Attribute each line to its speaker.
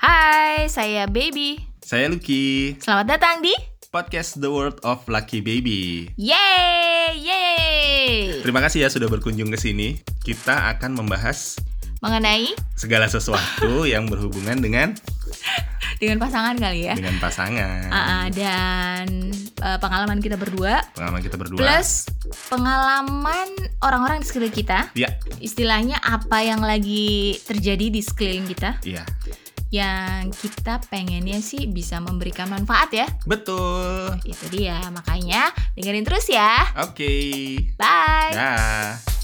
Speaker 1: Hai, saya Baby.
Speaker 2: Saya Lucky,
Speaker 1: Selamat datang di
Speaker 2: podcast The World of Lucky Baby.
Speaker 1: Yeay, yeay.
Speaker 2: Terima kasih ya sudah berkunjung ke sini. Kita akan membahas
Speaker 1: Mengenai
Speaker 2: segala sesuatu yang berhubungan dengan
Speaker 1: dengan pasangan kali ya.
Speaker 2: dengan pasangan.
Speaker 1: Aa, dan eh, pengalaman kita berdua
Speaker 2: Pengalaman kita berdua.
Speaker 1: plus pengalaman orang-orang di sekitar kita.
Speaker 2: Ya,
Speaker 1: Istilahnya apa yang lagi terjadi di sekeliling kita
Speaker 2: iya.
Speaker 1: yang kita pengennya sih bisa memberikan manfaat ya.
Speaker 2: Betul.
Speaker 1: Itu dia, makanya dengerin terus ya.
Speaker 2: Oke.
Speaker 1: Bye.
Speaker 2: Dah.